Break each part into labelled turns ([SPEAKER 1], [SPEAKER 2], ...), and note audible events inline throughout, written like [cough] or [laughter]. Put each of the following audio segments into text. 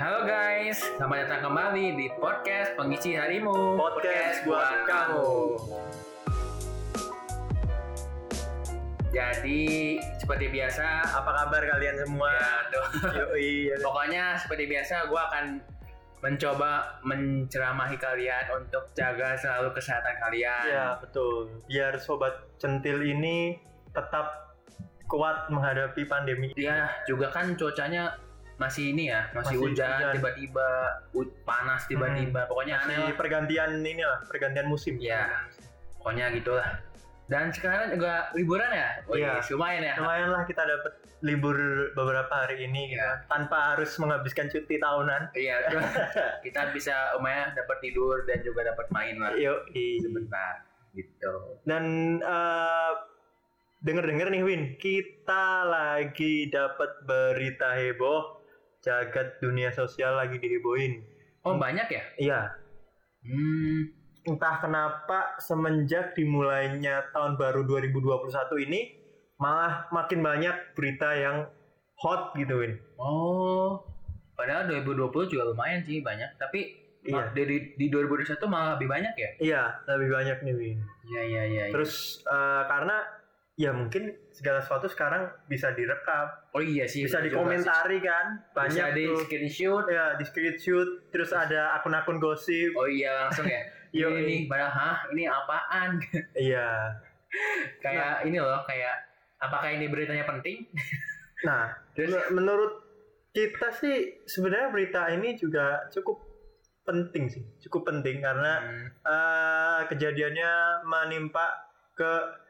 [SPEAKER 1] Halo guys, selamat datang kembali di podcast pengisi harimu.
[SPEAKER 2] Podcast buat kamu.
[SPEAKER 1] Jadi seperti biasa,
[SPEAKER 2] Apa kabar kalian semua?
[SPEAKER 1] ya, tuh.
[SPEAKER 2] Yoi, ya.
[SPEAKER 1] pokoknya seperti biasa gue akan mencoba menceramahi kalian untuk jaga selalu kesehatan kalian.
[SPEAKER 2] ya betul. Biar sobat centil ini tetap kuat menghadapi pandemi.
[SPEAKER 1] Dia juga kan cuacanya masih ini ya, masih,
[SPEAKER 2] Masih
[SPEAKER 1] hujan
[SPEAKER 2] hujan. Hmm.
[SPEAKER 1] tiba-tiba, u- panas tiba-tiba, pokoknya aneh
[SPEAKER 2] Masih
[SPEAKER 1] lah.
[SPEAKER 2] pergantian ini lah, pergantian musim.
[SPEAKER 1] Ya. pokoknya gitulah. Dan sekarang juga liburan ya, Wih,
[SPEAKER 2] Iya.
[SPEAKER 1] lumayan ya.
[SPEAKER 2] Lumayan lah kita dapat libur beberapa hari ini gitu
[SPEAKER 1] Ya.
[SPEAKER 2] kan. tanpa harus menghabiskan cuti tahunan.
[SPEAKER 1] Iya, tuh. kita bisa lumayan dapat tidur dan juga dapat main lah
[SPEAKER 2] Yoi.
[SPEAKER 1] sebentar gitu.
[SPEAKER 2] Dan eh denger-denger nih Win, kita lagi dapat berita heboh jagat dunia sosial lagi dihebohin.
[SPEAKER 1] Oh banyak ya?
[SPEAKER 2] Iya,
[SPEAKER 1] Hmm,
[SPEAKER 2] entah kenapa semenjak dimulainya tahun baru 2021 ini malah makin banyak berita yang hot gitu Win.
[SPEAKER 1] Oh, padahal 2020 juga lumayan sih banyak, tapi ma-
[SPEAKER 2] Iya,
[SPEAKER 1] dari di 2021 malah lebih banyak ya?
[SPEAKER 2] iya lebih banyak nih Win.
[SPEAKER 1] Iya iya iya. iya.
[SPEAKER 2] Terus eh, karena ya mungkin segala sesuatu sekarang bisa direkam,
[SPEAKER 1] oh iya sih.
[SPEAKER 2] bisa
[SPEAKER 1] bener juga
[SPEAKER 2] dikomentari kan,
[SPEAKER 1] sih. Bisa
[SPEAKER 2] banyak
[SPEAKER 1] di
[SPEAKER 2] tuh.
[SPEAKER 1] screenshot.
[SPEAKER 2] Ya, di screenshot, terus ada akun-akun gosip.
[SPEAKER 1] Oh iya langsung ya.
[SPEAKER 2] Yo,
[SPEAKER 1] ini nih, padahal hah ini apaan? [laughs]
[SPEAKER 2] iya.
[SPEAKER 1] kayak ini loh, kayak apakah ini beritanya penting?
[SPEAKER 2] Nah,
[SPEAKER 1] Terus
[SPEAKER 2] Men- menurut kita sih sebenarnya berita ini juga cukup penting sih, cukup penting karena
[SPEAKER 1] Hmm,
[SPEAKER 2] eh, kejadiannya menimpa ke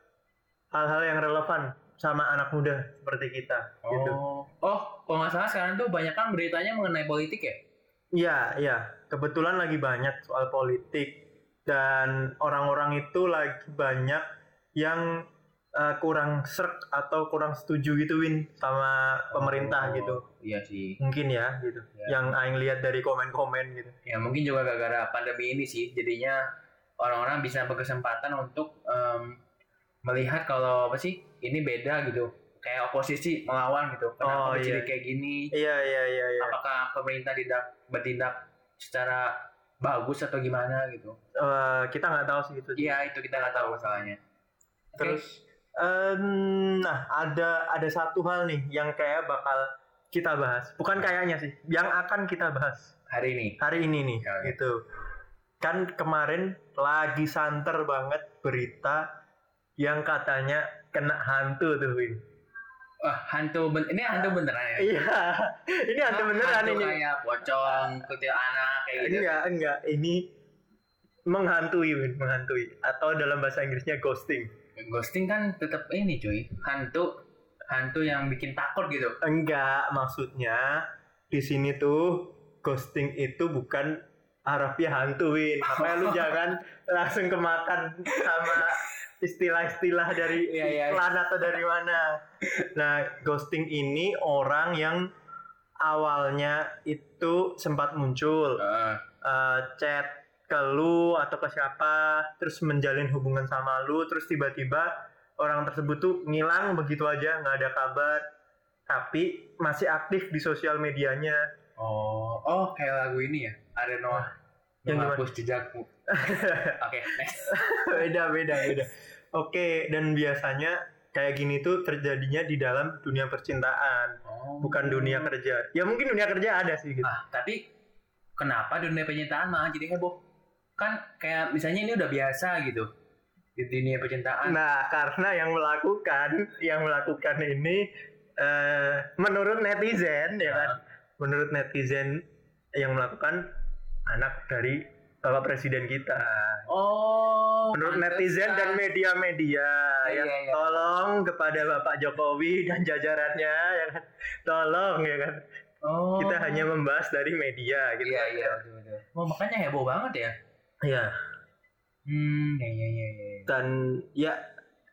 [SPEAKER 2] hal-hal yang relevan sama anak muda seperti kita. Gitu.
[SPEAKER 1] Oh, oh, kalau nggak salah sekarang tuh banyak kan beritanya mengenai politik ya?
[SPEAKER 2] Iya, iya. Kebetulan lagi banyak soal politik dan orang-orang itu lagi banyak yang eh, kurang serk atau kurang setuju gitu Win sama pemerintah
[SPEAKER 1] Oh,
[SPEAKER 2] gitu.
[SPEAKER 1] Iya sih.
[SPEAKER 2] Mungkin ya gitu.
[SPEAKER 1] Ya.
[SPEAKER 2] Yang aing lihat dari komen-komen gitu.
[SPEAKER 1] Ya mungkin juga gara-gara pandemi ini sih, jadinya orang-orang bisa berkesempatan untuk em, melihat kalau apa sih ini beda gitu, kayak oposisi melawan gitu. Kenapa
[SPEAKER 2] Oh,
[SPEAKER 1] jadi
[SPEAKER 2] iya.
[SPEAKER 1] kayak gini?
[SPEAKER 2] Iya, iya, iya, iya.
[SPEAKER 1] Apakah pemerintah tidak bertindak secara bagus atau gimana gitu?
[SPEAKER 2] Eh, kita nggak tahu sih gitu.
[SPEAKER 1] Iya itu kita nggak tahu masalahnya. Oke.
[SPEAKER 2] Terus em, nah ada ada satu hal nih yang kayak bakal kita bahas. Bukan kayaknya sih, yang akan kita bahas
[SPEAKER 1] hari ini
[SPEAKER 2] hari ini nih
[SPEAKER 1] Ya, ya.
[SPEAKER 2] gitu. Kan kemarin lagi santer banget berita yang katanya kena hantu tuh Win.
[SPEAKER 1] Wah, hantu ben ini hantu beneran ya?
[SPEAKER 2] Iya. Ini hantu beneran
[SPEAKER 1] hantu
[SPEAKER 2] ini. Iya.
[SPEAKER 1] kayak pocong, anak kayak gitu.
[SPEAKER 2] Enggak, enggak. Ini menghantui Win, menghantui atau dalam bahasa Inggrisnya ghosting.
[SPEAKER 1] Ghosting kan tetap ini cuy, hantu hantu yang bikin takut gitu.
[SPEAKER 2] Enggak, maksudnya di sini tuh ghosting itu bukan harafiah hantuin. Makanya
[SPEAKER 1] [laughs]
[SPEAKER 2] lu jangan langsung kemakan sama istilah-istilah dari
[SPEAKER 1] Iya, iya.
[SPEAKER 2] iklan atau dari mana. Nah, ghosting ini orang yang awalnya itu sempat muncul
[SPEAKER 1] Heeh.
[SPEAKER 2] eh, chat ke lu atau ke siapa, terus menjalin hubungan sama lu, terus tiba-tiba orang tersebut tuh ngilang begitu aja, nggak ada kabar, tapi masih aktif di sosial medianya. [laughs]
[SPEAKER 1] oh, oh kayak lagu ini ya, ada Noah
[SPEAKER 2] Yang
[SPEAKER 1] menghapus
[SPEAKER 2] [laughs]
[SPEAKER 1] jejakmu. Oke, next.
[SPEAKER 2] beda, beda, beda. Oke, dan biasanya kayak gini tuh terjadinya di dalam dunia percintaan,
[SPEAKER 1] Oh.
[SPEAKER 2] bukan dunia kerja. Ya mungkin dunia kerja ada sih gitu.
[SPEAKER 1] Ah, tapi kenapa dunia percintaan malah jadi heboh? Kan kayak misalnya ini udah biasa gitu di dunia percintaan.
[SPEAKER 2] Nah, karena yang melakukan, yang melakukan ini eh, menurut netizen ya kan, menurut netizen yang melakukan anak dari bapak presiden kita.
[SPEAKER 1] Oh,
[SPEAKER 2] Menurut netizen
[SPEAKER 1] pantesan.
[SPEAKER 2] dan media-media
[SPEAKER 1] Iya,
[SPEAKER 2] ya,
[SPEAKER 1] iya, iya.
[SPEAKER 2] tolong kepada Bapak Jokowi dan jajarannya ya kan, tolong ya kan.
[SPEAKER 1] Oh.
[SPEAKER 2] Kita hanya membahas dari media gitu.
[SPEAKER 1] Iya, iya, betul, betul. Oh, makanya heboh banget ya.
[SPEAKER 2] Iya.
[SPEAKER 1] Hmm, ya, ya, ya, ya.
[SPEAKER 2] Dan ya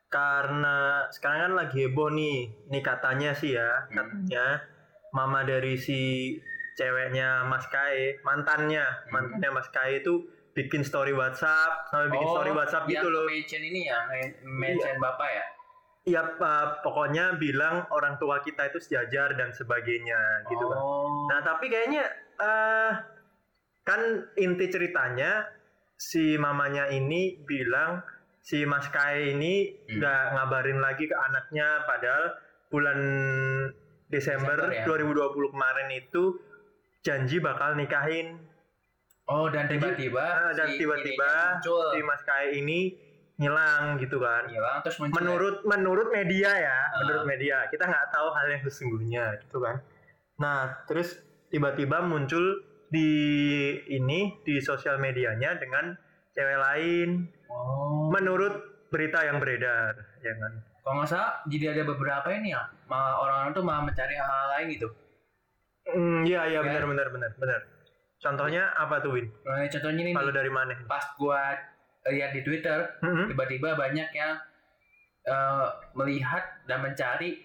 [SPEAKER 2] karena sekarang kan lagi heboh nih, nih katanya sih ya,
[SPEAKER 1] Hmm.
[SPEAKER 2] katanya mama dari si ceweknya Mas Kae, mantannya,
[SPEAKER 1] Hmm.
[SPEAKER 2] mantannya Mas Kae itu bikin story WhatsApp, sampai bikin story
[SPEAKER 1] Oh,
[SPEAKER 2] WhatsApp
[SPEAKER 1] yang
[SPEAKER 2] gitu loh.
[SPEAKER 1] Mention ini ya, men- mention bapak ya.
[SPEAKER 2] ya eh, pokoknya bilang orang tua kita itu sejajar dan sebagainya gitu kan.
[SPEAKER 1] Oh.
[SPEAKER 2] Nah tapi kayaknya eh kan inti ceritanya si mamanya ini bilang si Mas Kai ini
[SPEAKER 1] Hmm.
[SPEAKER 2] nggak ngabarin lagi ke anaknya padahal bulan Desember,
[SPEAKER 1] Desember ya.
[SPEAKER 2] 2020 kemarin itu janji bakal nikahin
[SPEAKER 1] oh dan tiba-tiba
[SPEAKER 2] Ah, dan
[SPEAKER 1] si
[SPEAKER 2] tiba-tiba
[SPEAKER 1] ininya muncul
[SPEAKER 2] si Mas Kai ini ngilang gitu kan.
[SPEAKER 1] hilang terus muncul ya?
[SPEAKER 2] Menurut menurut media ya,
[SPEAKER 1] Ah.
[SPEAKER 2] menurut media kita nggak tahu hal yang sesungguhnya gitu kan. Nah terus tiba-tiba muncul di ini di sosial medianya dengan cewek lain
[SPEAKER 1] oh
[SPEAKER 2] menurut berita yang beredar ya kan.
[SPEAKER 1] kalau nggak salah jadi ada beberapa ini ya malah orang-orang tuh malah mencari hal-hal lain gitu
[SPEAKER 2] Hmm, iya
[SPEAKER 1] Ya.
[SPEAKER 2] iya benar benar benar benar. Contohnya apa tuh Win?
[SPEAKER 1] Eh, contohnya ini
[SPEAKER 2] Kalau
[SPEAKER 1] nih,
[SPEAKER 2] dari mana? Hmm?
[SPEAKER 1] pas gua lihat di Twitter
[SPEAKER 2] Mm-mm.
[SPEAKER 1] tiba-tiba banyak yang eh, melihat dan mencari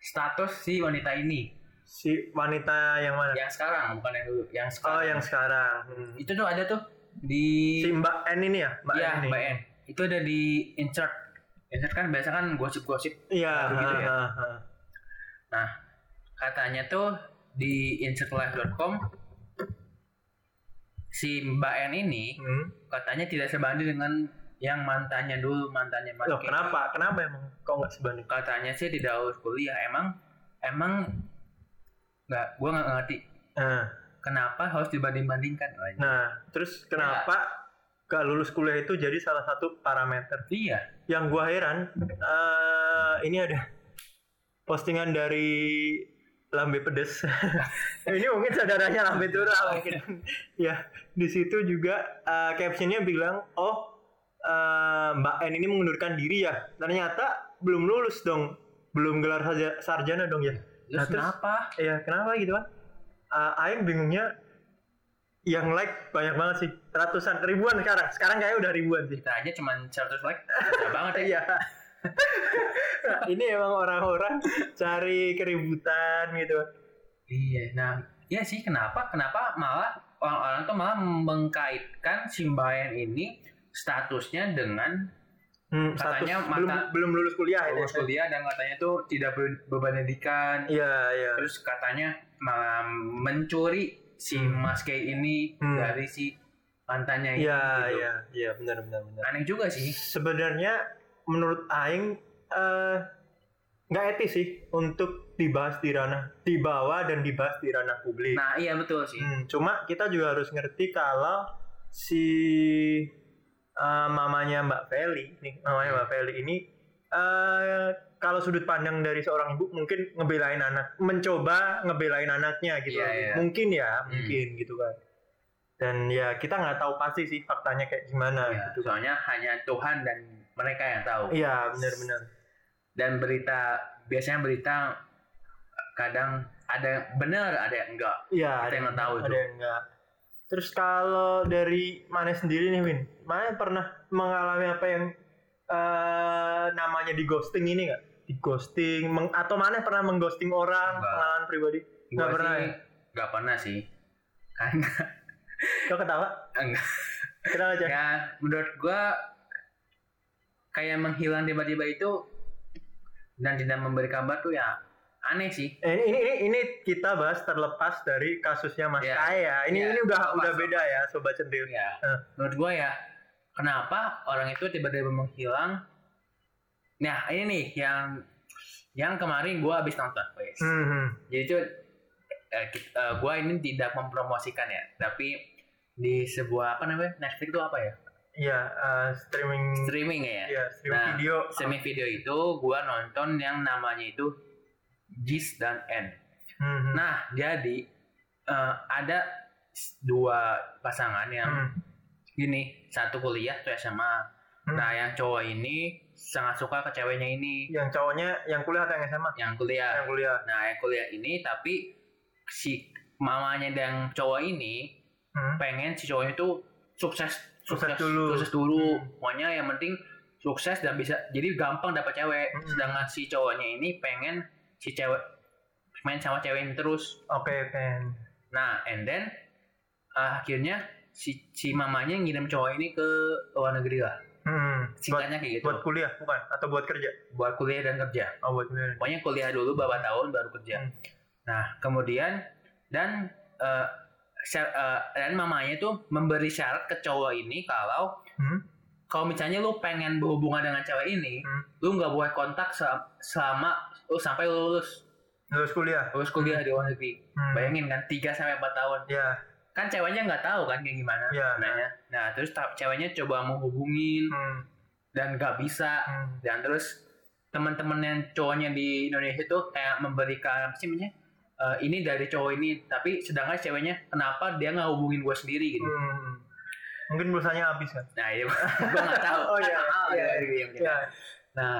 [SPEAKER 1] status si wanita ini
[SPEAKER 2] Si wanita yang mana?
[SPEAKER 1] yang sekarang bukan yang dulu yang sekarang
[SPEAKER 2] Oh yang sekarang. Hmm.
[SPEAKER 1] itu tuh ada tuh di
[SPEAKER 2] Si Mbak N ini ya? Mbak
[SPEAKER 1] Iya,
[SPEAKER 2] N ini.
[SPEAKER 1] Mbak N. Itu ada di insert. Insert kan biasa kan gosip-gosip.
[SPEAKER 2] Iya,
[SPEAKER 1] Baru gitu ya.
[SPEAKER 2] ha, ha, ha.
[SPEAKER 1] Katanya tuh di insertlife.com si Mbak N ini
[SPEAKER 2] Hmm.
[SPEAKER 1] katanya tidak sebanding dengan yang mantannya dulu, mantannya
[SPEAKER 2] Loh,
[SPEAKER 1] mantan.
[SPEAKER 2] kenapa? Kenapa emang kok nggak sebanding?
[SPEAKER 1] Katanya sih tidak harus kuliah. Emang emang nggak, gua nggak ngerti
[SPEAKER 2] Nah,
[SPEAKER 1] kenapa harus dibanding-bandingkan.
[SPEAKER 2] nah, terus kenapa nggak lulus kuliah itu jadi salah satu parameter?
[SPEAKER 1] Iya.
[SPEAKER 2] Yang gua heran, eh ini ada postingan dari Lambe Pedes. [laughs] ini mungkin saudaranya Lambe Tura mungkin. ya, di situ juga eh, captionnya bilang, oh eh, Mbak N ini mengundurkan diri ya. Ternyata belum lulus dong, belum gelar sarja- sarjana dong ya.
[SPEAKER 1] Terus
[SPEAKER 2] Nah, terus-
[SPEAKER 1] kenapa?
[SPEAKER 2] Iya, kenapa gitu kan? Ah, Aing bingungnya yang like banyak banget sih, ratusan, ribuan sekarang. Sekarang kayaknya udah ribuan sih. [laughs]
[SPEAKER 1] Kita aja cuman 100 like. Susah banget ya.
[SPEAKER 2] Iya. Nah, ini emang orang-orang cari keributan gitu.
[SPEAKER 1] Iya, nah, ya sih kenapa? Kenapa malah orang-orang tuh malah mengkaitkan Simbayan ini statusnya dengan
[SPEAKER 2] Hmm,
[SPEAKER 1] Katanya
[SPEAKER 2] status
[SPEAKER 1] mata-
[SPEAKER 2] belum belum lulus kuliah ya.
[SPEAKER 1] lulus kuliah dan katanya tuh tidak ber- berpendidikan.
[SPEAKER 2] Iya, iya.
[SPEAKER 1] Terus katanya malah mencuri si
[SPEAKER 2] Hmm.
[SPEAKER 1] Mas K ini
[SPEAKER 2] Hmm.
[SPEAKER 1] dari si mantannya ini.
[SPEAKER 2] Iya,
[SPEAKER 1] gitu.
[SPEAKER 2] iya, iya, benar benar benar.
[SPEAKER 1] Aneh juga sih.
[SPEAKER 2] Sebenarnya menurut aing eh, nggak etis sih untuk dibahas di ranah dibawa dan dibahas di ranah publik.
[SPEAKER 1] Nah, iya betul sih.
[SPEAKER 2] Hmm, cuma kita juga harus ngerti kalau si eh, mamanya Mbak Feli, nih mamanya
[SPEAKER 1] Hmm.
[SPEAKER 2] Mbak Feli ini eh kalau sudut pandang dari seorang ibu mungkin ngebelain anak, mencoba ngebelain anaknya gitu.
[SPEAKER 1] Iya, iya.
[SPEAKER 2] Mungkin ya,
[SPEAKER 1] Hmm.
[SPEAKER 2] mungkin gitu kan. Dan ya kita nggak tahu pasti sih faktanya kayak gimana
[SPEAKER 1] Ya,
[SPEAKER 2] gitu kan.
[SPEAKER 1] soalnya hanya Tuhan dan mereka yang tahu.
[SPEAKER 2] Iya, benar-benar.
[SPEAKER 1] Dan berita biasanya berita kadang ada yang benar, ada yang enggak.
[SPEAKER 2] Iya,
[SPEAKER 1] Kita yang nggak tahu
[SPEAKER 2] ada
[SPEAKER 1] itu.
[SPEAKER 2] yang nggak. Terus kalau dari mana sendiri nih Win, mana pernah mengalami apa yang eh namanya di ghosting ini nggak? Di ghosting meng- atau mana pernah mengghosting orang
[SPEAKER 1] Nggak.
[SPEAKER 2] pengalaman pribadi?
[SPEAKER 1] Gua
[SPEAKER 2] Nggak pernah
[SPEAKER 1] sih
[SPEAKER 2] ya?
[SPEAKER 1] nggak pernah sih Kan karena
[SPEAKER 2] Kau ketawa?
[SPEAKER 1] Enggak.
[SPEAKER 2] Ketawa aja.
[SPEAKER 1] [laughs] ya menurut gua kayak menghilang tiba-tiba itu dan tidak memberi kabar tuh ya aneh sih
[SPEAKER 2] Eh, ini, ini ini kita bahas terlepas dari kasusnya Mas
[SPEAKER 1] Iya.
[SPEAKER 2] Kaya. Ini
[SPEAKER 1] Iya,
[SPEAKER 2] ini udah
[SPEAKER 1] terlepas,
[SPEAKER 2] udah beda ya sobat centil.
[SPEAKER 1] ya
[SPEAKER 2] Eh.
[SPEAKER 1] menurut gua ya kenapa orang itu tiba-tiba menghilang nah ini nih yang yang kemarin gua habis nonton guys
[SPEAKER 2] Hmm, hmm.
[SPEAKER 1] jadi itu eh, kit- eh, gua ini tidak mempromosikan ya tapi di sebuah apa namanya Netflix itu apa ya
[SPEAKER 2] Iya, eh, streaming
[SPEAKER 1] streaming ya
[SPEAKER 2] Iya, streaming
[SPEAKER 1] Nah,
[SPEAKER 2] video.
[SPEAKER 1] semi video itu gua nonton yang namanya itu Gis dan N.
[SPEAKER 2] Hmm, hmm.
[SPEAKER 1] Nah, jadi eh, ada s- dua pasangan yang
[SPEAKER 2] Hmm,
[SPEAKER 1] gini, satu kuliah tuh SMA.
[SPEAKER 2] Hmm. Iya.
[SPEAKER 1] Nah, yang cowok ini sangat suka ke ceweknya ini
[SPEAKER 2] yang cowoknya yang kuliah atau yang SMA?
[SPEAKER 1] yang kuliah.
[SPEAKER 2] Yang kuliah.
[SPEAKER 1] Nah, yang kuliah ini tapi si mamanya dan cowok ini
[SPEAKER 2] Hmm.
[SPEAKER 1] pengen si cowoknya itu sukses
[SPEAKER 2] Sukses dulu.
[SPEAKER 1] sukses dulu.
[SPEAKER 2] Hmm.
[SPEAKER 1] Pokoknya yang penting sukses dan bisa jadi gampang dapat cewek.
[SPEAKER 2] Hmm.
[SPEAKER 1] Sedangkan si cowoknya ini pengen si cewek main sama cewek ini terus.
[SPEAKER 2] Oke, Ken.
[SPEAKER 1] Nah, and then uh, akhirnya si si mamanya ngirim cowok ini ke luar negeri lah.
[SPEAKER 2] Hmm. Buat,
[SPEAKER 1] singkatnya kayak gitu
[SPEAKER 2] buat kuliah bukan? Atau buat kerja?
[SPEAKER 1] buat kuliah dan kerja
[SPEAKER 2] Oh buat kuliah.
[SPEAKER 1] pokoknya kuliah dulu beberapa tahun baru kerja
[SPEAKER 2] Hmm.
[SPEAKER 1] nah kemudian dan eh, syar- eh, dan mamanya tuh memberi syarat ke cowok ini kalau
[SPEAKER 2] Hmm.
[SPEAKER 1] kalau misalnya lu pengen berhubungan dengan cewek ini
[SPEAKER 2] Hmm.
[SPEAKER 1] lu nggak boleh kontak se- selama lu sampai lu lulus
[SPEAKER 2] Lulus kuliah.
[SPEAKER 1] lulus kuliah di luar negeri
[SPEAKER 2] Hmm.
[SPEAKER 1] bayangin kan 3 sampai 4 tahun
[SPEAKER 2] Ya.
[SPEAKER 1] kan ceweknya nggak tahu kan kayak gimana
[SPEAKER 2] Ya.
[SPEAKER 1] sebenarnya nah terus ta- ceweknya coba menghubungin
[SPEAKER 2] Hmm.
[SPEAKER 1] dan nggak bisa
[SPEAKER 2] Hmm.
[SPEAKER 1] dan terus teman-teman yang cowoknya di Indonesia tuh kayak memberikan apa sih namanya Eh, ini dari cowok ini tapi sedangkan ceweknya kenapa dia nggak hubungin gue sendiri gitu
[SPEAKER 2] Hmm. Mungkin pulsanya habis kan?
[SPEAKER 1] nah [laughs] ya gue nggak tahu
[SPEAKER 2] Oh, iya,
[SPEAKER 1] Kan mahal
[SPEAKER 2] iya,
[SPEAKER 1] ya, gitu, yang gitu.
[SPEAKER 2] Ya.
[SPEAKER 1] nah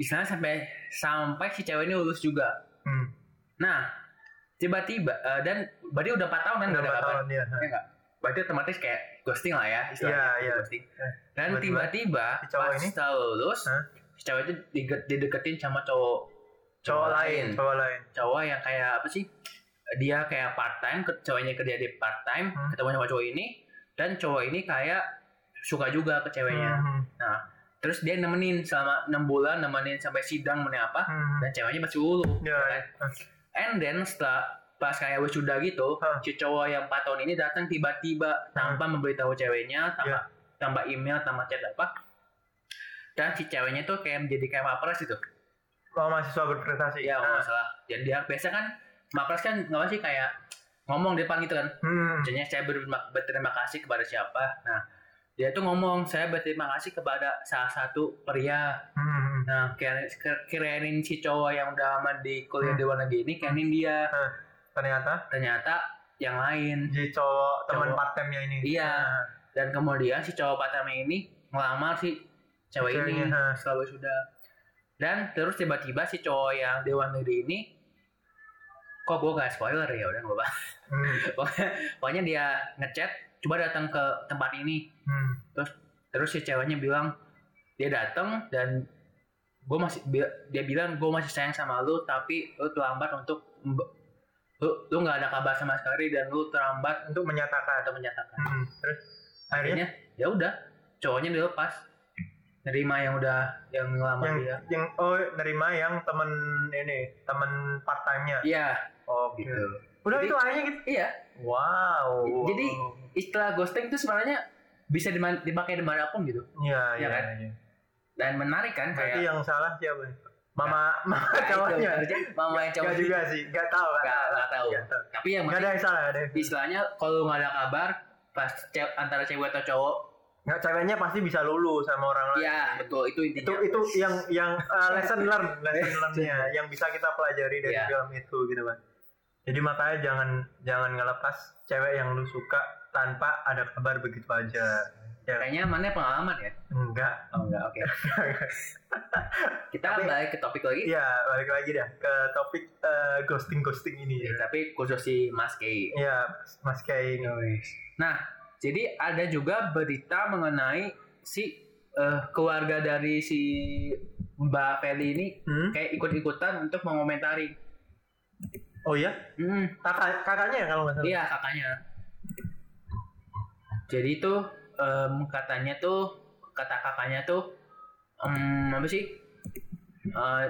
[SPEAKER 1] istilahnya sampai sampai si cewek ini lulus juga
[SPEAKER 2] Hmm.
[SPEAKER 1] nah tiba-tiba eh, dan berarti udah 4 tahun kan nggak ada
[SPEAKER 2] Berapa
[SPEAKER 1] kabar
[SPEAKER 2] tahun ya?
[SPEAKER 1] ya nggak berarti otomatis kayak ghosting lah ya istilahnya
[SPEAKER 2] Iya, iya.
[SPEAKER 1] ghosting dan
[SPEAKER 2] Tiba-tiba,
[SPEAKER 1] tiba-tiba
[SPEAKER 2] si cowok
[SPEAKER 1] pas
[SPEAKER 2] ini,
[SPEAKER 1] setelah lulus
[SPEAKER 2] Hah?
[SPEAKER 1] si cewek itu dide- dideketin sama cowok
[SPEAKER 2] Cowok lain. Cowok lain.
[SPEAKER 1] cowok yang kayak apa sih dia kayak part time cowoknya kerja di part time
[SPEAKER 2] Hmm.
[SPEAKER 1] ketemu sama cowok ini dan cowok ini kayak suka juga ke ceweknya
[SPEAKER 2] Hmm.
[SPEAKER 1] terus dia nemenin selama enam bulan nemenin sampai sidang meneapa apa
[SPEAKER 2] Hmm.
[SPEAKER 1] dan ceweknya masih ulu
[SPEAKER 2] Ya.
[SPEAKER 1] kan? and then setelah pas kayak wisuda gitu
[SPEAKER 2] Hah.
[SPEAKER 1] si cowok yang 4 tahun ini datang
[SPEAKER 2] Hmm.
[SPEAKER 1] tiba-tiba tanpa memberitahu ceweknya tanpa tanpa email tanpa chat apa dan si ceweknya tuh kayak menjadi kayak mapres gitu
[SPEAKER 2] Oh, mahasiswa berprestasi.
[SPEAKER 1] Iya, kalau
[SPEAKER 2] Ah.
[SPEAKER 1] nggak salah. Dan dia biasa kan Mapres kan nggak sih kayak ngomong di depan gitu kan.
[SPEAKER 2] Hmm.
[SPEAKER 1] Misalnya saya berterima, berterima kasih kepada siapa. Nah, dia tuh ngomong saya berterima kasih kepada salah satu pria.
[SPEAKER 2] Hmm.
[SPEAKER 1] Nah, kirain, kirainin si cowok yang udah aman di kuliah di luar negeri ini kirainin dia.
[SPEAKER 2] Ternyata
[SPEAKER 1] Ternyata yang lain.
[SPEAKER 2] si cowok teman
[SPEAKER 1] Cowok.
[SPEAKER 2] part time-nya ini.
[SPEAKER 1] Iya.
[SPEAKER 2] Ah.
[SPEAKER 1] Dan kemudian si cowok pertama ini ngelamar si cewek ini.
[SPEAKER 2] Ceweknya, ah.
[SPEAKER 1] Selalu sudah. Dan terus tiba-tiba si cowok yang di luar negeri ini kok gue gak spoiler ya udah gak
[SPEAKER 2] Hmm.
[SPEAKER 1] pokoknya, [laughs] pokoknya dia ngechat coba datang ke tempat ini
[SPEAKER 2] Hmm.
[SPEAKER 1] terus si ceweknya bilang dia datang dan gue masih bi- dia bilang gue masih sayang sama lu tapi lu terlambat untuk mem- lu lu nggak ada kabar sama sekali dan lu terlambat
[SPEAKER 2] Untuk menyatakan.
[SPEAKER 1] untuk menyatakan
[SPEAKER 2] Hmm. Terus akhirnya
[SPEAKER 1] akhirnya ya udah cowoknya dilepas nerima yang udah yang ngelamar
[SPEAKER 2] yang
[SPEAKER 1] dia
[SPEAKER 2] yang oh nerima yang temen ini temen part time-nya.
[SPEAKER 1] iya
[SPEAKER 2] Oh
[SPEAKER 1] gitu
[SPEAKER 2] Udah
[SPEAKER 1] Jadi-
[SPEAKER 2] itu akhirnya gitu.
[SPEAKER 1] iya
[SPEAKER 2] Wow.
[SPEAKER 1] Jadi- istilah ghosting itu sebenarnya bisa diman- dipakai dimanapun gitu
[SPEAKER 2] Iya,
[SPEAKER 1] Iya
[SPEAKER 2] iya.
[SPEAKER 1] kan?
[SPEAKER 2] iya.
[SPEAKER 1] dan menarik kan
[SPEAKER 2] Berarti
[SPEAKER 1] kayak
[SPEAKER 2] yang salah siapa? Mama, mama
[SPEAKER 1] [laughs] Nah, itu,
[SPEAKER 2] cowoknya.
[SPEAKER 1] harusnya mama yang cowok
[SPEAKER 2] Gak
[SPEAKER 1] itu.
[SPEAKER 2] juga sih, gak tahu kan?
[SPEAKER 1] nggak nggak tahu Iya.
[SPEAKER 2] Gak tahu.
[SPEAKER 1] tapi yang
[SPEAKER 2] Gak ada
[SPEAKER 1] penting
[SPEAKER 2] yang salah, gak ada. yang-
[SPEAKER 1] istilahnya kalau nggak ada kabar pas ce- antara cewek atau cowok
[SPEAKER 2] Gak ceweknya pasti bisa lulu sama orang lain.
[SPEAKER 1] ya betul itu
[SPEAKER 2] Itu
[SPEAKER 1] intinya
[SPEAKER 2] itu yang yang uh, lesson
[SPEAKER 1] [laughs]
[SPEAKER 2] learn, lesson learn-nya yang bisa kita pelajari dari
[SPEAKER 1] Iya.
[SPEAKER 2] film itu gitu kan. Jadi makanya jangan jangan ngelepas cewek yang lu suka tanpa ada kabar begitu aja. Ya,
[SPEAKER 1] kayaknya mana pengalaman ya
[SPEAKER 2] enggak.
[SPEAKER 1] oh enggak oke [laughs] kita
[SPEAKER 2] Tapi-
[SPEAKER 1] balik ke topik lagi
[SPEAKER 2] Iya, balik lagi dah ke topik eh, ghosting ghosting ini.
[SPEAKER 1] Ya,
[SPEAKER 2] ya.
[SPEAKER 1] tapi khusus si Mas Kei
[SPEAKER 2] Iya, Mas Kai ini.
[SPEAKER 1] nah jadi ada juga berita mengenai si eh, keluarga dari si Mbak Feli ini
[SPEAKER 2] Hmm?
[SPEAKER 1] kayak ikut-ikutan untuk mengomentari
[SPEAKER 2] Oh iya,
[SPEAKER 1] Hmm.
[SPEAKER 2] Kakak, kakaknya ya kalau nggak salah.
[SPEAKER 1] Iya kakaknya. Jadi tuh em, katanya tuh kata kakaknya tuh em, apa sih? Eh,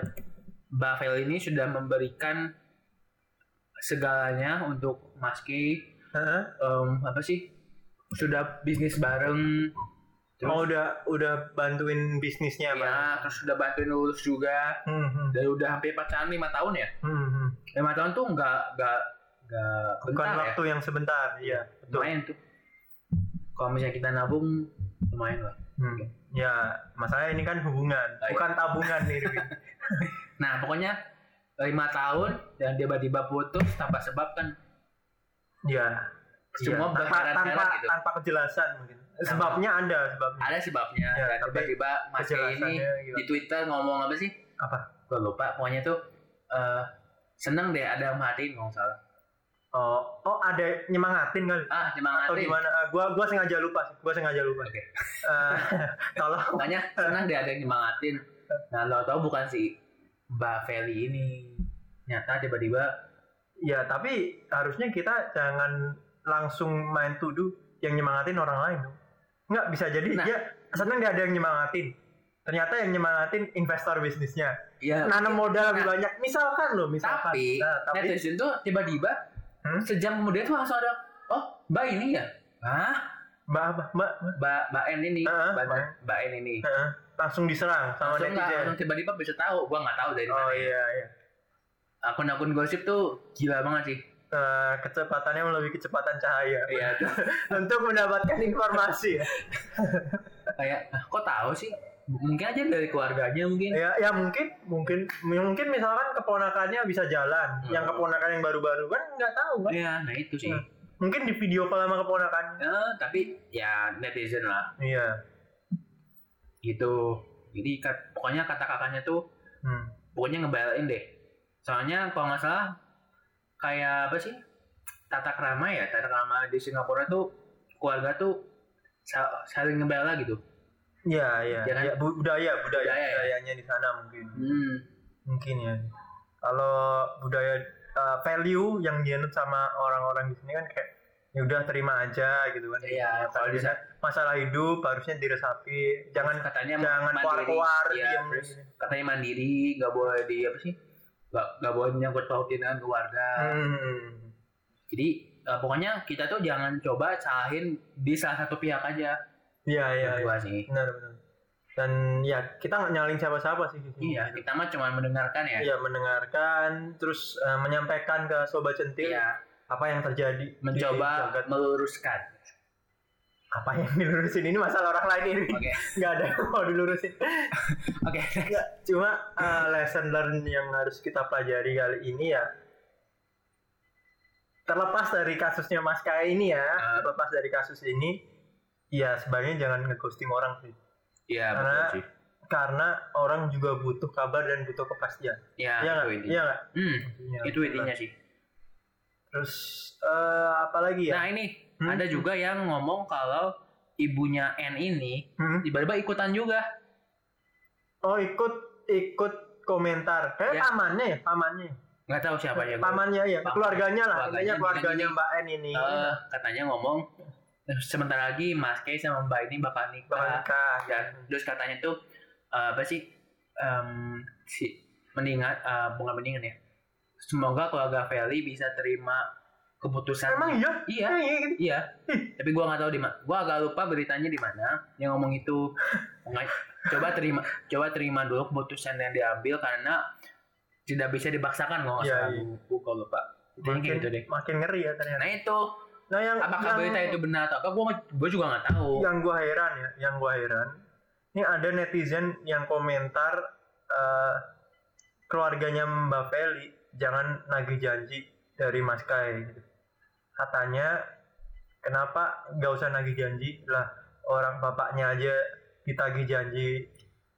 [SPEAKER 1] Mbak Vel ini sudah memberikan segalanya untuk Maski.
[SPEAKER 2] Heeh.
[SPEAKER 1] em, apa sih? Sudah bisnis bareng. Terus,
[SPEAKER 2] Oh udah udah bantuin bisnisnya
[SPEAKER 1] ya,
[SPEAKER 2] Bang.
[SPEAKER 1] terus sudah bantuin lulus juga.
[SPEAKER 2] Hmm, hmm,
[SPEAKER 1] Dan udah hampir pacaran lima tahun ya.
[SPEAKER 2] hmm, hmm.
[SPEAKER 1] Lima tahun tuh nggak nggak nggak
[SPEAKER 2] Bukan
[SPEAKER 1] bentar ya.
[SPEAKER 2] waktu yang sebentar, iya. Betul.
[SPEAKER 1] lumayan tuh kalau misalnya kita nabung lumayan lah
[SPEAKER 2] Hmm. Ya, masalahnya ini kan hubungan,
[SPEAKER 1] Ah, iya.
[SPEAKER 2] bukan tabungan nih.
[SPEAKER 1] [laughs]
[SPEAKER 2] Dewi.
[SPEAKER 1] nah pokoknya lima tahun dan tiba-tiba putus tanpa sebab kan
[SPEAKER 2] Iya.
[SPEAKER 1] Semua
[SPEAKER 2] Iya. tanpa
[SPEAKER 1] berkarat-karat
[SPEAKER 2] tanpa,
[SPEAKER 1] gitu.
[SPEAKER 2] tanpa kejelasan mungkin. Sebabnya ada sebabnya.
[SPEAKER 1] ada sebabnya
[SPEAKER 2] Ya,
[SPEAKER 1] Dan
[SPEAKER 2] tapi
[SPEAKER 1] tiba-tiba mas Kay ini
[SPEAKER 2] Kejelasannya gitu.
[SPEAKER 1] di twitter ngomong apa sih
[SPEAKER 2] Apa?
[SPEAKER 1] gue lupa pokoknya tuh eh, seneng deh ada yang merhatiin kalau nggak salah
[SPEAKER 2] Oh, oh ada nyemangatin kali.
[SPEAKER 1] ah
[SPEAKER 2] Atau
[SPEAKER 1] nyemangatin
[SPEAKER 2] gimana? Ah, gua gua sengaja lupa sih. Gua sengaja lupa.
[SPEAKER 1] Oke.
[SPEAKER 2] [laughs] Eh, tolong.
[SPEAKER 1] pokoknya
[SPEAKER 2] [laughs]
[SPEAKER 1] seneng deh ada yang nyemangatin nah lo tau bukan si mbak Feli ini nyata tiba-tiba
[SPEAKER 2] Ya, tapi harusnya kita jangan langsung main tuduh yang nyemangatin orang lain. dong. Nggak bisa jadi
[SPEAKER 1] Nah.
[SPEAKER 2] dia kesannya nggak ada yang nyemangatin ternyata yang nyemangatin investor bisnisnya
[SPEAKER 1] Iya.
[SPEAKER 2] nanam modal lebih
[SPEAKER 1] Nah.
[SPEAKER 2] banyak misalkan loh misalkan
[SPEAKER 1] tapi, eh,
[SPEAKER 2] Nah, tapi
[SPEAKER 1] netizen tuh tiba-tiba
[SPEAKER 2] Hmm?
[SPEAKER 1] sejam kemudian tuh langsung ada oh mbak ini ya Hah?
[SPEAKER 2] mbak apa mbak Mbak?
[SPEAKER 1] mbak mbak N ini mbak,
[SPEAKER 2] Ah, Mbak N.
[SPEAKER 1] mbak N ini
[SPEAKER 2] Heeh. langsung diserang sama
[SPEAKER 1] langsung nggak
[SPEAKER 2] netizen
[SPEAKER 1] langsung tiba-tiba bisa tahu gua nggak tahu dari mana
[SPEAKER 2] ya. oh iya iya
[SPEAKER 1] akun-akun gosip tuh gila banget sih
[SPEAKER 2] Eh, kecepatannya melebihi kecepatan cahaya
[SPEAKER 1] iya tuh
[SPEAKER 2] untuk mendapatkan informasi ya.
[SPEAKER 1] kayak "Ah, kok tahu sih mungkin aja dari keluarganya mungkin
[SPEAKER 2] ya ya mungkin mungkin mungkin misalkan keponakannya bisa jalan
[SPEAKER 1] Hmm.
[SPEAKER 2] yang keponakan yang baru-baru kan nggak tahu kan
[SPEAKER 1] Iya, nah itu sih.
[SPEAKER 2] Hmm. mungkin di video call sama keponakannya
[SPEAKER 1] Eh, tapi ya netizen lah
[SPEAKER 2] iya
[SPEAKER 1] gitu. Jadi kat- pokoknya kata kakaknya tuh
[SPEAKER 2] hmm.
[SPEAKER 1] pokoknya ngebelain deh. Soalnya kalau nggak salah kayak apa sih tata krama ya tata krama di Singapura tuh keluarga tuh sa- saling ngebela gitu.
[SPEAKER 2] Iya, iya.
[SPEAKER 1] Ya kan?
[SPEAKER 2] Ya, bu- budaya, budaya,
[SPEAKER 1] Budaya, ya.
[SPEAKER 2] budayanya di sana mungkin.
[SPEAKER 1] Hmm,
[SPEAKER 2] Mungkin ya. Kalau budaya uh, value yang dianut sama orang-orang di sini kan kayak ya udah terima aja gitu kan.
[SPEAKER 1] Iya,
[SPEAKER 2] Kalau
[SPEAKER 1] kalau
[SPEAKER 2] di
[SPEAKER 1] di
[SPEAKER 2] sana masalah hidup harusnya diresapi, jangan
[SPEAKER 1] katanya
[SPEAKER 2] jangan
[SPEAKER 1] mandiri.
[SPEAKER 2] keluar-keluar
[SPEAKER 1] Iya,
[SPEAKER 2] diem.
[SPEAKER 1] terus katanya mandiri, nggak boleh di apa sih? Nggak nggak boleh nyangkut pautin dengan keluarga.
[SPEAKER 2] Hmm.
[SPEAKER 1] Jadi eh, pokoknya kita tuh jangan coba salahin di salah satu pihak aja.
[SPEAKER 2] Iya, iya. iya.
[SPEAKER 1] Berdua sih.
[SPEAKER 2] Benar, benar. Dan ya kita nggak nyalin siapa-siapa sih di sini.
[SPEAKER 1] Iya, kita mah cuma mendengarkan ya.
[SPEAKER 2] Hmm. Iya, mendengarkan terus uh, menyampaikan ke sobat centil
[SPEAKER 1] Iya,
[SPEAKER 2] apa yang terjadi di
[SPEAKER 1] mencoba
[SPEAKER 2] iya, jagat
[SPEAKER 1] meluruskan.
[SPEAKER 2] apa yang dilurusin ini masalah orang lain
[SPEAKER 1] [laughs]
[SPEAKER 2] ini
[SPEAKER 1] Oke.
[SPEAKER 2] nggak ada yang mau dilurusin
[SPEAKER 1] [laughs] Oke.
[SPEAKER 2] Nggak, cuma uh, lesson learn yang harus kita pelajari kali ini ya terlepas dari kasusnya Mas Kaya ini ya
[SPEAKER 1] Ah.
[SPEAKER 2] terlepas dari kasus ini ya sebaiknya jangan ngeghosting orang sih
[SPEAKER 1] Iya,
[SPEAKER 2] Karena-
[SPEAKER 1] betul sih.
[SPEAKER 2] karena orang juga butuh kabar dan butuh kepastian
[SPEAKER 1] Iya,
[SPEAKER 2] Iya
[SPEAKER 1] itu
[SPEAKER 2] nggak
[SPEAKER 1] intinya.
[SPEAKER 2] iya nggak
[SPEAKER 1] Hmm,
[SPEAKER 2] Intinya.
[SPEAKER 1] itu intinya sih.
[SPEAKER 2] terus eh, apa lagi ya
[SPEAKER 1] Nah, ini
[SPEAKER 2] Hmm.
[SPEAKER 1] ada juga yang ngomong kalau ibunya N ini
[SPEAKER 2] Hmm?
[SPEAKER 1] tiba-tiba ikutan juga.
[SPEAKER 2] oh ikut ikut komentar kayak
[SPEAKER 1] Ya.
[SPEAKER 2] pamannya ya pamannya ya?
[SPEAKER 1] Nggak tahu siapa ya. gua.
[SPEAKER 2] pamannya ya
[SPEAKER 1] Paman.
[SPEAKER 2] keluarganya lah
[SPEAKER 1] Keluarganya
[SPEAKER 2] intinya
[SPEAKER 1] bilang
[SPEAKER 2] keluarganya
[SPEAKER 1] ini.
[SPEAKER 2] Mbak N ini
[SPEAKER 1] Eh, katanya ngomong "Eh, sebentar lagi Mas Kay sama Mbak ini bakal nikah.
[SPEAKER 2] bakal nikah
[SPEAKER 1] Dan terus katanya tuh eh, apa sih em, si mendingan eh, bukan mendingan ya. Semoga keluarga Feli bisa terima keputusan.
[SPEAKER 2] emang iya
[SPEAKER 1] Iya.
[SPEAKER 2] Emang iya gitu?
[SPEAKER 1] Iya, tapi gua nggak tahu di mana. Gua agak lupa beritanya di mana yang ngomong itu. Nggak- coba terima, coba terima dulu keputusan yang diambil karena tidak bisa dipaksakan kalau nggak
[SPEAKER 2] Iya,
[SPEAKER 1] salah.
[SPEAKER 2] iya.
[SPEAKER 1] Gua- Gua kalau lupa. Mungkin
[SPEAKER 2] makin,
[SPEAKER 1] gitu deh.
[SPEAKER 2] makin ngeri ya ternyata
[SPEAKER 1] Nah itu,
[SPEAKER 2] nah yang
[SPEAKER 1] apakah
[SPEAKER 2] yang,
[SPEAKER 1] berita itu benar atau enggak? Gua, gua juga nggak tahu.
[SPEAKER 2] yang gua heran ya yang gua heran ini ada netizen yang komentar eh, keluarganya Mbak Feli jangan nagih janji dari Mas Kai gitu. katanya kenapa nggak usah nagih janji lah orang bapaknya aja ditagih janji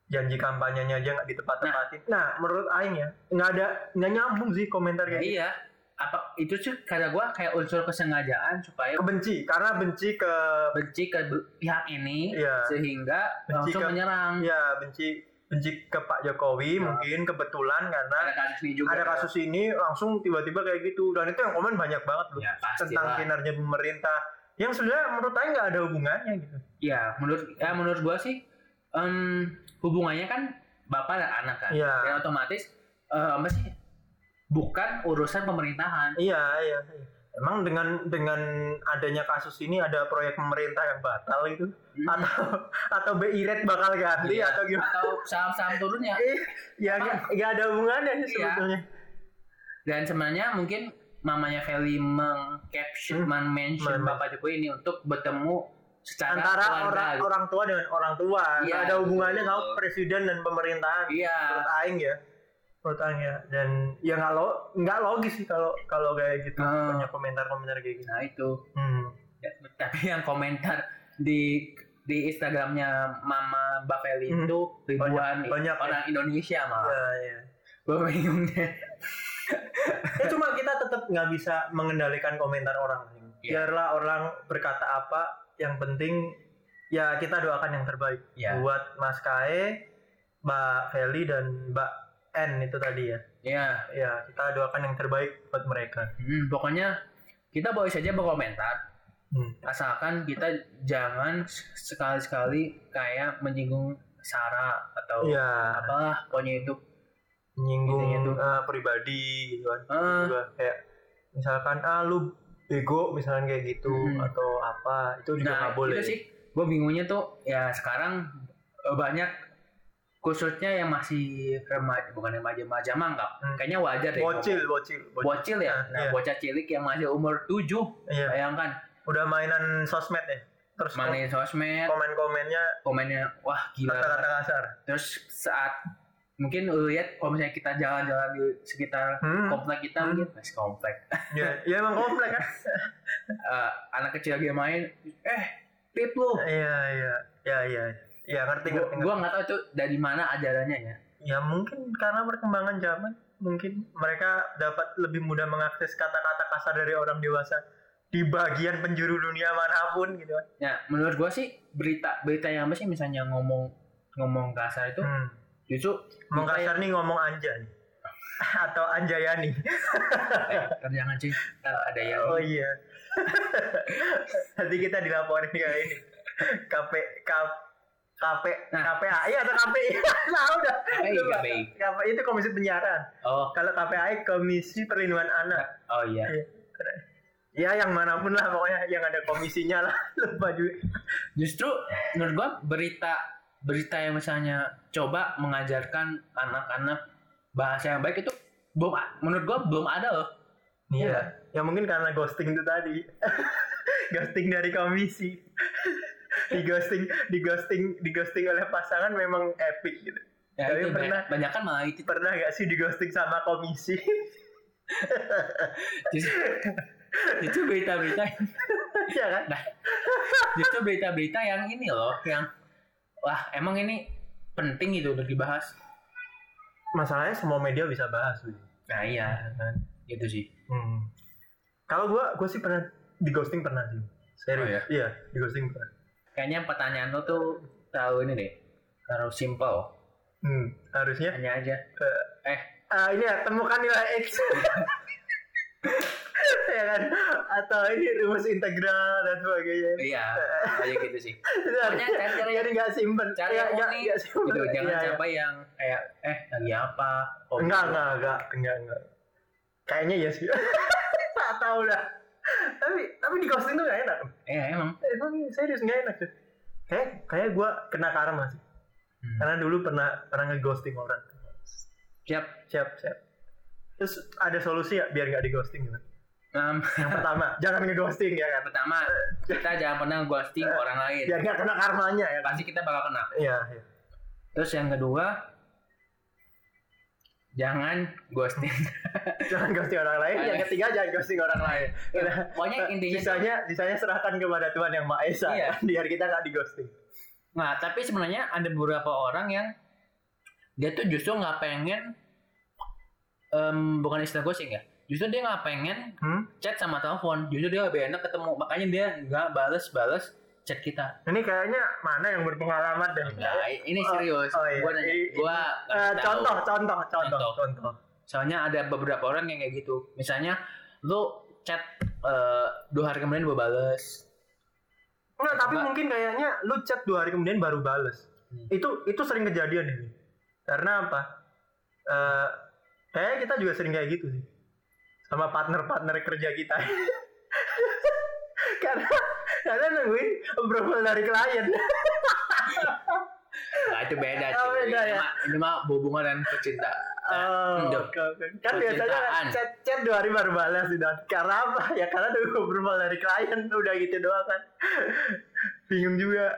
[SPEAKER 2] janji kampanyenya aja nggak ditepat-tepatin nah, menurut Aing ya nggak ada nggak nyambung sih komentar
[SPEAKER 1] Nah,
[SPEAKER 2] kayak gitu.
[SPEAKER 1] iya, apa itu sih kata gua kayak unsur kesengajaan supaya
[SPEAKER 2] gitu. kebenci karena benci ke ya,
[SPEAKER 1] benci ke be- pihak ini
[SPEAKER 2] Iya.
[SPEAKER 1] sehingga
[SPEAKER 2] Benci
[SPEAKER 1] langsung
[SPEAKER 2] ke-
[SPEAKER 1] menyerang.
[SPEAKER 2] ya benci benci ke Pak Jokowi
[SPEAKER 1] Ya.
[SPEAKER 2] mungkin kebetulan karena
[SPEAKER 1] Ada kasus ini juga. ya.
[SPEAKER 2] ada kasus ini langsung tiba-tiba kayak gitu dan itu yang komen banyak banget loh
[SPEAKER 1] ya, pasti
[SPEAKER 2] tentang kinerja pemerintah yang sebenarnya menurut saya nggak ada hubungannya gitu
[SPEAKER 1] Ya, menurut ya menurut gua sih em, hubungannya kan bapak dan anak kan.
[SPEAKER 2] Iya.
[SPEAKER 1] Dan otomatis eh, apa sih? Bukan urusan pemerintahan.
[SPEAKER 2] iya iya iya. emang dengan dengan adanya kasus ini ada proyek pemerintah yang batal gitu
[SPEAKER 1] Hmm.
[SPEAKER 2] atau atau BI rate bakal ganti
[SPEAKER 1] Iya.
[SPEAKER 2] atau gimana
[SPEAKER 1] Atau saham-saham turun ya.
[SPEAKER 2] Eh, ya nggak nggak ada hubungannya sih
[SPEAKER 1] Iya.
[SPEAKER 2] sebetulnya
[SPEAKER 1] Dan sebenarnya mungkin mamanya Feli meng-caption,
[SPEAKER 2] Hmm.
[SPEAKER 1] men-mention
[SPEAKER 2] Men-
[SPEAKER 1] Bapak Jokowi ini untuk bertemu secara
[SPEAKER 2] antara
[SPEAKER 1] keluarga.
[SPEAKER 2] orang
[SPEAKER 1] gitu.
[SPEAKER 2] orang tua dengan orang tua nggak
[SPEAKER 1] Iya,
[SPEAKER 2] ada hubungannya
[SPEAKER 1] betul.
[SPEAKER 2] sama presiden dan pemerintahan
[SPEAKER 1] Iya.
[SPEAKER 2] menurut aing ya menurut aing ya dan ya nggak lo nggak logis sih kalau kalau kayak gitu
[SPEAKER 1] Hmm.
[SPEAKER 2] banyak komentar-komentar kayak gitu
[SPEAKER 1] Nah, itu.
[SPEAKER 2] hmm.
[SPEAKER 1] Ya, Tapi yang komentar di di Instagramnya Mama Mbak Feli
[SPEAKER 2] Hmm.
[SPEAKER 1] itu ribuan
[SPEAKER 2] banyak ya.
[SPEAKER 1] orang Indonesia malah.
[SPEAKER 2] ya, ya.
[SPEAKER 1] Gue bingung deh.
[SPEAKER 2] ya cuma kita tetap nggak bisa mengendalikan komentar orang
[SPEAKER 1] Iya.
[SPEAKER 2] biarlah orang berkata apa yang penting ya kita doakan yang terbaik
[SPEAKER 1] Ya.
[SPEAKER 2] buat Mas Kae Mbak Feli dan Mbak N itu tadi ya
[SPEAKER 1] Ya,
[SPEAKER 2] ya kita doakan yang terbaik buat mereka
[SPEAKER 1] hmm, pokoknya kita boleh saja berkomentar,
[SPEAKER 2] Hmm.
[SPEAKER 1] asalkan kita jangan sekali-sekali kayak menyinggung sara atau
[SPEAKER 2] Iya,
[SPEAKER 1] apalah pokoknya itu Intinya
[SPEAKER 2] nyinggung
[SPEAKER 1] tuh.
[SPEAKER 2] eh, pribadi gitu kan.
[SPEAKER 1] Eh,
[SPEAKER 2] Juga kayak misalkan ah lu bego misalkan kayak gitu
[SPEAKER 1] Hmm.
[SPEAKER 2] atau apa itu juga
[SPEAKER 1] nah
[SPEAKER 2] nggak boleh.
[SPEAKER 1] itu sih gue bingungnya tuh ya sekarang eh, banyak khususnya yang masih remaja bukan remaja remaja mangkap
[SPEAKER 2] Hmm.
[SPEAKER 1] kayaknya wajar deh
[SPEAKER 2] Bocil, bocil, bocil.
[SPEAKER 1] bocil ya
[SPEAKER 2] Nah,
[SPEAKER 1] nah,
[SPEAKER 2] iya.
[SPEAKER 1] bocah cilik yang masih umur 7
[SPEAKER 2] Iya,
[SPEAKER 1] bayangkan
[SPEAKER 2] udah mainan sosmed ya. Terus
[SPEAKER 1] main sosmed
[SPEAKER 2] komen-komennya
[SPEAKER 1] komennya wah gila
[SPEAKER 2] kata-kata kasar.
[SPEAKER 1] terus saat mungkin lu lihat kalau misalnya kita jalan-jalan di sekitar
[SPEAKER 2] Hmm.
[SPEAKER 1] komplek kita
[SPEAKER 2] Hmm.
[SPEAKER 1] mungkin masih komplek
[SPEAKER 2] Iya, iya emang komplek
[SPEAKER 1] [laughs]
[SPEAKER 2] kan.
[SPEAKER 1] Eh, anak kecil lagi main eh pip lu
[SPEAKER 2] Iya, iya. Iya, iya. Iya, ngerti
[SPEAKER 1] Gua-
[SPEAKER 2] ngerti. ngerti.
[SPEAKER 1] gua nggak tahu itu dari mana ajarannya ya
[SPEAKER 2] Ya mungkin karena perkembangan zaman mungkin mereka dapat lebih mudah mengakses kata-kata kasar dari orang dewasa di bagian penjuru dunia manapun gitu kan.
[SPEAKER 1] ya menurut gua sih berita berita yang apa sih misalnya ngomong ngomong kasar itu
[SPEAKER 2] Hmm.
[SPEAKER 1] justru
[SPEAKER 2] Ngomong
[SPEAKER 1] Makanya-
[SPEAKER 2] kasar nih [laughs] ngomong anjay atau anjayani.
[SPEAKER 1] eh, ntar jangan sih ntar ada yang
[SPEAKER 2] Oh iya. [laughs] Nanti kita dilaporin kayak ini. KP K KP
[SPEAKER 1] Nah.
[SPEAKER 2] KPAI atau [laughs] KPI? nah, udah.
[SPEAKER 1] KPI,
[SPEAKER 2] Lupa.
[SPEAKER 1] KPI.
[SPEAKER 2] KPI itu Komisi Penyiaran.
[SPEAKER 1] ya, oh
[SPEAKER 2] Kalau KPAI Komisi Perlindungan Anak.
[SPEAKER 1] oh iya
[SPEAKER 2] Ya yang manapun lah pokoknya yang ada komisinya lah. [laughs] Lupa juga.
[SPEAKER 1] justru menurut gua berita berita yang misalnya coba mengajarkan anak-anak bahasa yang baik itu belum a- menurut gua belum ada loh
[SPEAKER 2] Iya. Ya mungkin karena ghosting itu tadi. [laughs] ghosting dari komisi. [laughs] di ghosting, di ghosting, di ghosting oleh pasangan memang epic gitu.
[SPEAKER 1] ya,
[SPEAKER 2] Tapi
[SPEAKER 1] itu
[SPEAKER 2] pernah.
[SPEAKER 1] banyak kan malah itu
[SPEAKER 2] Pernah gak sih di ghosting sama komisi? [laughs]
[SPEAKER 1] justru, justru berita-berita
[SPEAKER 2] Iya kan?
[SPEAKER 1] justru berita-berita yang ini loh yang wah emang ini penting gitu untuk dibahas
[SPEAKER 2] masalahnya semua media bisa bahas Wi.
[SPEAKER 1] nah iya
[SPEAKER 2] kan
[SPEAKER 1] gitu sih
[SPEAKER 2] hmm. kalau gua gua sih pernah di ghosting pernah sih serius
[SPEAKER 1] Oh, ya?
[SPEAKER 2] iya di ghosting pernah
[SPEAKER 1] kayaknya pertanyaan lo tuh tahu ini deh harus simple
[SPEAKER 2] hmm. harusnya
[SPEAKER 1] hanya aja
[SPEAKER 2] ah, ini ya temukan nilai x [laughs] ya kan atau ini rumus integral dan sebagainya
[SPEAKER 1] iya aja gitu
[SPEAKER 2] [laughs]
[SPEAKER 1] sih
[SPEAKER 2] Itu
[SPEAKER 1] Pokoknya
[SPEAKER 2] harusnya-
[SPEAKER 1] cari- cari-
[SPEAKER 2] jadi nggak simpen Iya,
[SPEAKER 1] cari yang
[SPEAKER 2] nggak-
[SPEAKER 1] unik,
[SPEAKER 2] nggak simpen
[SPEAKER 1] gitu jangan
[SPEAKER 2] kan Iya, iya.
[SPEAKER 1] sampai yang kayak eh lagi apa oh,
[SPEAKER 2] enggak enggak enggak enggak enggak kayaknya ya sih [laughs] tak tahu lah tapi tapi di ghosting tuh gak enak
[SPEAKER 1] iya emang
[SPEAKER 2] Eh, emang serius nggak enak tuh kayak kayak gue kena karma sih
[SPEAKER 1] Hmm.
[SPEAKER 2] karena dulu pernah pernah ngeghosting orang
[SPEAKER 1] siap
[SPEAKER 2] siap siap terus ada solusi ya biar nggak dighosting gitu
[SPEAKER 1] Em, [laughs]
[SPEAKER 2] yang [laughs] pertama jangan ngeghosting ya kan
[SPEAKER 1] pertama kita jangan pernah ghosting orang lain
[SPEAKER 2] biar nggak kena karmanya ya kan
[SPEAKER 1] pasti kita bakal kena
[SPEAKER 2] iya iya
[SPEAKER 1] terus yang kedua jangan ghosting [laughs]
[SPEAKER 2] jangan ghosting orang lain yang
[SPEAKER 1] Iya.
[SPEAKER 2] ketiga jangan ghosting orang lain Udah.
[SPEAKER 1] pokoknya intinya
[SPEAKER 2] sisanya sisanya serahkan kepada Tuhan yang maha esa
[SPEAKER 1] Iya.
[SPEAKER 2] [laughs] biar kita nggak dighosting
[SPEAKER 1] nah tapi sebenarnya ada beberapa orang yang dia tuh justru nggak pengen em, bukan istilah ghosting ya justru dia nggak pengen
[SPEAKER 2] hmm?
[SPEAKER 1] chat sama telepon justru dia lebih enak ketemu makanya dia nggak balas-balas chat kita
[SPEAKER 2] ini kayaknya mana yang berpengalaman deh
[SPEAKER 1] Nah, ini serius.
[SPEAKER 2] Oh, oh iya.
[SPEAKER 1] Gua nanya,
[SPEAKER 2] Ini-
[SPEAKER 1] gua
[SPEAKER 2] Eh,
[SPEAKER 1] ngasih tahu.
[SPEAKER 2] contoh, contoh, contoh,
[SPEAKER 1] Contoh.
[SPEAKER 2] contoh.
[SPEAKER 1] Soalnya ada beberapa orang yang kayak gitu. Misalnya lu chat eh, dua hari kemudian gua bales.
[SPEAKER 2] Oh, Enggak, tapi
[SPEAKER 1] Mbak.
[SPEAKER 2] mungkin kayaknya lu chat dua hari kemudian baru bales.
[SPEAKER 1] Hmm.
[SPEAKER 2] Itu itu sering kejadian ini. Karena apa? Eh kayaknya kita juga sering kayak gitu sih. Sama partner-partner kerja kita. [laughs] karena karena nungguin approval dari
[SPEAKER 1] [laughs]
[SPEAKER 2] klien.
[SPEAKER 1] Eh, Nah, itu beda cuy.
[SPEAKER 2] [laughs] Oh, beda
[SPEAKER 1] ini,
[SPEAKER 2] ya.
[SPEAKER 1] mah, ini mah hubungan dan percintaan.
[SPEAKER 2] Oh,
[SPEAKER 1] Duh.
[SPEAKER 2] oke, oke. Kan biasanya
[SPEAKER 1] Percintaan.
[SPEAKER 2] chat chat dua hari baru balas gitu. Karena apa? Ya karena nunggu approval dari klien udah gitu doang kan. [laughs] Bingung juga.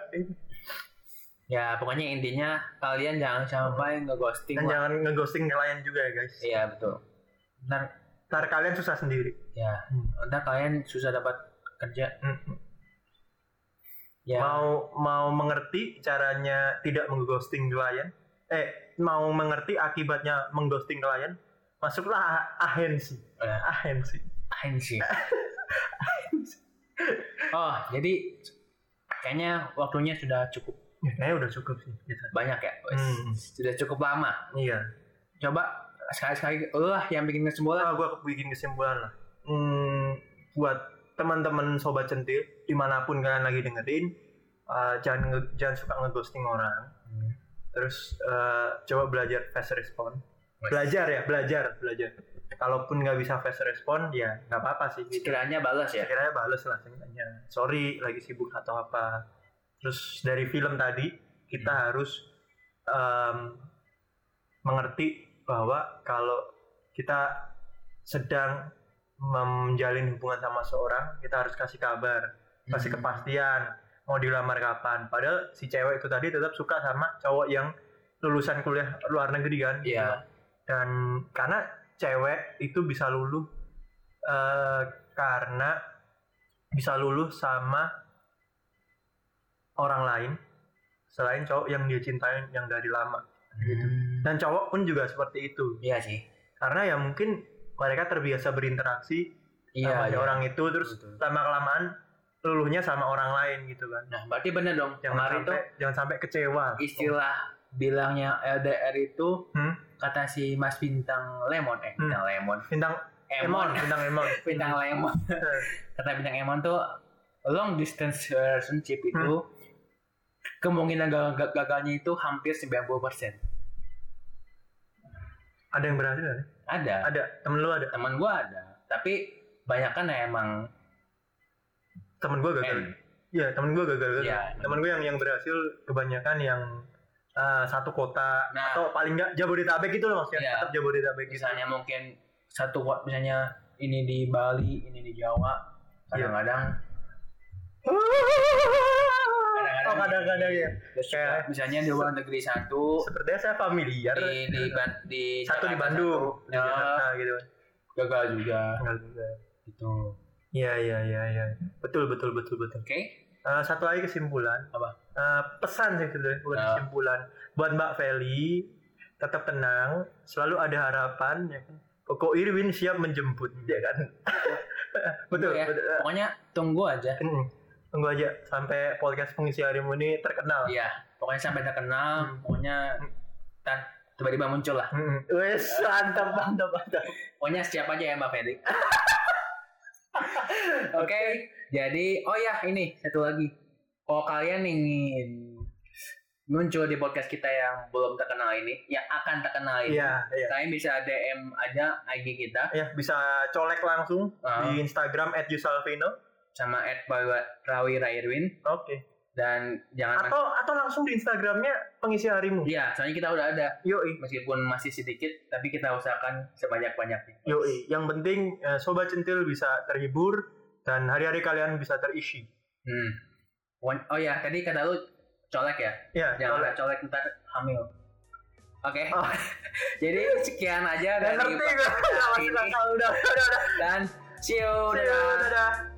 [SPEAKER 1] Ya, pokoknya intinya kalian jangan sampai ngeghosting.
[SPEAKER 2] Dan
[SPEAKER 1] lah.
[SPEAKER 2] jangan ngeghosting klien juga ya, guys.
[SPEAKER 1] Iya, betul. Ntar
[SPEAKER 2] Ntar kalian susah sendiri.
[SPEAKER 1] ya,
[SPEAKER 2] Hmm.
[SPEAKER 1] ntar kalian susah dapat kerja. Ya,
[SPEAKER 2] Mm-hmm. Mau mau mengerti caranya tidak mengghosting klien? Eh, mau mengerti akibatnya mengghosting klien? Masuklah a- ahensi.
[SPEAKER 1] Eh.
[SPEAKER 2] Ahensi.
[SPEAKER 1] Apaan sih?
[SPEAKER 2] [laughs]
[SPEAKER 1] oh, jadi kayaknya waktunya sudah cukup
[SPEAKER 2] Ya, kayaknya udah cukup sih. Gitu.
[SPEAKER 1] banyak ya.
[SPEAKER 2] Hmm.
[SPEAKER 1] Sudah cukup lama.
[SPEAKER 2] Iya.
[SPEAKER 1] coba sekali-sekali lu lah yang bikin kesimpulan
[SPEAKER 2] Kalau gua bikin kesimpulan lah. Hmm, buat teman-teman sobat centil dimanapun kalian lagi dengerin eh, jangan nge- jangan suka ngeghosting orang terus eh, coba belajar fast respon
[SPEAKER 1] Wes.
[SPEAKER 2] belajar ya belajar belajar kalaupun nggak bisa fast respon ya nggak apa-apa sih gitu
[SPEAKER 1] Sekiranya balas ya.
[SPEAKER 2] akhirnya bales lah seenggaknya sorry lagi sibuk atau apa terus dari film tadi kita
[SPEAKER 1] Hmm.
[SPEAKER 2] harus em, mengerti bahwa kalau kita sedang menjalin hubungan sama seorang kita harus kasih kabar kasih
[SPEAKER 1] Hmm.
[SPEAKER 2] kepastian mau dilamar kapan padahal si cewek itu tadi tetap suka sama cowok yang lulusan kuliah luar negeri kan
[SPEAKER 1] Iya.
[SPEAKER 2] dan karena cewek itu bisa luluh eh, karena bisa luluh sama orang lain selain cowok yang dia cintain yang dari lama gitu.
[SPEAKER 1] Hmm.
[SPEAKER 2] dan cowok pun juga seperti itu
[SPEAKER 1] Iya sih.
[SPEAKER 2] karena ya mungkin mereka terbiasa berinteraksi sama
[SPEAKER 1] Iya.
[SPEAKER 2] si
[SPEAKER 1] iya.
[SPEAKER 2] orang itu terus
[SPEAKER 1] Betul.
[SPEAKER 2] lama kelamaan luluhnya sama orang lain gitu kan
[SPEAKER 1] Nah, berarti bener dong.
[SPEAKER 2] jangan
[SPEAKER 1] Kemarin
[SPEAKER 2] sampai
[SPEAKER 1] tuh
[SPEAKER 2] jangan sampai kecewa
[SPEAKER 1] istilah bilangnya LDR itu
[SPEAKER 2] Hmm?
[SPEAKER 1] kata si Mas Bintang Lemon eh
[SPEAKER 2] Hmm.
[SPEAKER 1] Bintang Lemon.
[SPEAKER 2] bintang emon
[SPEAKER 1] Emon.
[SPEAKER 2] bintang emon
[SPEAKER 1] [laughs] Bintang
[SPEAKER 2] [laughs]
[SPEAKER 1] Lemon. kata Bintang Emon tuh long distance relationship itu
[SPEAKER 2] Hmm.
[SPEAKER 1] kemungkinan gagal- gagalnya itu hampir 90%.
[SPEAKER 2] ada yang berhasil nggak?
[SPEAKER 1] Ada.
[SPEAKER 2] ada temen lu ada
[SPEAKER 1] Teman gua ada, tapi banyak kan emang
[SPEAKER 2] temen gue gagal
[SPEAKER 1] end.
[SPEAKER 2] Iya, temen gue gagal gagal.
[SPEAKER 1] Iya.
[SPEAKER 2] Temen gue yang yang berhasil kebanyakan yang eh, satu kota
[SPEAKER 1] Nah.
[SPEAKER 2] atau paling nggak Jabodetabek gitu loh maksudnya.
[SPEAKER 1] Iya.
[SPEAKER 2] Tetap Jabodetabek gitu.
[SPEAKER 1] misalnya mungkin satu wa- misalnya ini di Bali, ini di Jawa. Kadang-kadang
[SPEAKER 2] Iya.
[SPEAKER 1] Kadang-kadang
[SPEAKER 2] oh kadang-kadang ya.
[SPEAKER 1] terus juga
[SPEAKER 2] Kayak-
[SPEAKER 1] misalnya di luar negeri satu,
[SPEAKER 2] Sepertinya saya familiar.
[SPEAKER 1] di di, Ban- di
[SPEAKER 2] satu di
[SPEAKER 1] Jakarta
[SPEAKER 2] Bandung,
[SPEAKER 1] Iya, satu. Iya.
[SPEAKER 2] di Jakarta gitu.
[SPEAKER 1] gagal juga
[SPEAKER 2] Gagal juga.
[SPEAKER 1] gitu.
[SPEAKER 2] Iya iya iya iya. Betul betul betul betul.
[SPEAKER 1] Oke.
[SPEAKER 2] Eh, satu lagi kesimpulan
[SPEAKER 1] Apa?
[SPEAKER 2] Eh, pesan sih sebenarnya bukan
[SPEAKER 1] Ya.
[SPEAKER 2] kesimpulan buat Mbak Feli tetap tenang selalu ada harapan ya kan Koko Irwin siap menjemput ya kan betul,
[SPEAKER 1] Tunggu ya.
[SPEAKER 2] betul.
[SPEAKER 1] Pokoknya tunggu aja.
[SPEAKER 2] Hmm. tunggu aja sampai podcast pengisi harimu ini terkenal
[SPEAKER 1] Iya, pokoknya sampai terkenal,
[SPEAKER 2] Hmm.
[SPEAKER 1] pokoknya tan tiba-tiba muncul lah.
[SPEAKER 2] Hmm. wes mantap mantap mantap
[SPEAKER 1] Pokoknya siap aja ya Mbak
[SPEAKER 2] [laughs]
[SPEAKER 1] Feli. Oke, jadi oh ya ini satu lagi. Kalau kalian ingin muncul di podcast kita yang belum terkenal ini, yang akan terkenal ini,
[SPEAKER 2] iya iya
[SPEAKER 1] kalian bisa DM aja IG kita
[SPEAKER 2] ya bisa colek langsung
[SPEAKER 1] uh,
[SPEAKER 2] di Instagram @yusalvino
[SPEAKER 1] sama @prawirairwin
[SPEAKER 2] oke
[SPEAKER 1] dan jangan
[SPEAKER 2] atau atau langsung di Instagramnya pengisi harimu
[SPEAKER 1] Iya, soalnya kita udah ada
[SPEAKER 2] yoi
[SPEAKER 1] meskipun masih sedikit, tapi kita usahakan sebanyak-banyaknya.
[SPEAKER 2] Yoi, yang penting eh, sobat centil bisa terhibur dan hari-hari kalian bisa terisi.
[SPEAKER 1] Hmm. Wan- Oh ya, tadi kata lu colek ya?
[SPEAKER 2] Ya,
[SPEAKER 1] Jangan
[SPEAKER 2] kalau
[SPEAKER 1] ada colek ntar hamil. Oke.
[SPEAKER 2] Oh.
[SPEAKER 1] [laughs] Jadi sekian aja dari
[SPEAKER 2] Nggak [laughs] ngerti gue. Udah, udah, udah, udah.
[SPEAKER 1] dan see you.
[SPEAKER 2] See you,
[SPEAKER 1] dadah.
[SPEAKER 2] Dadah.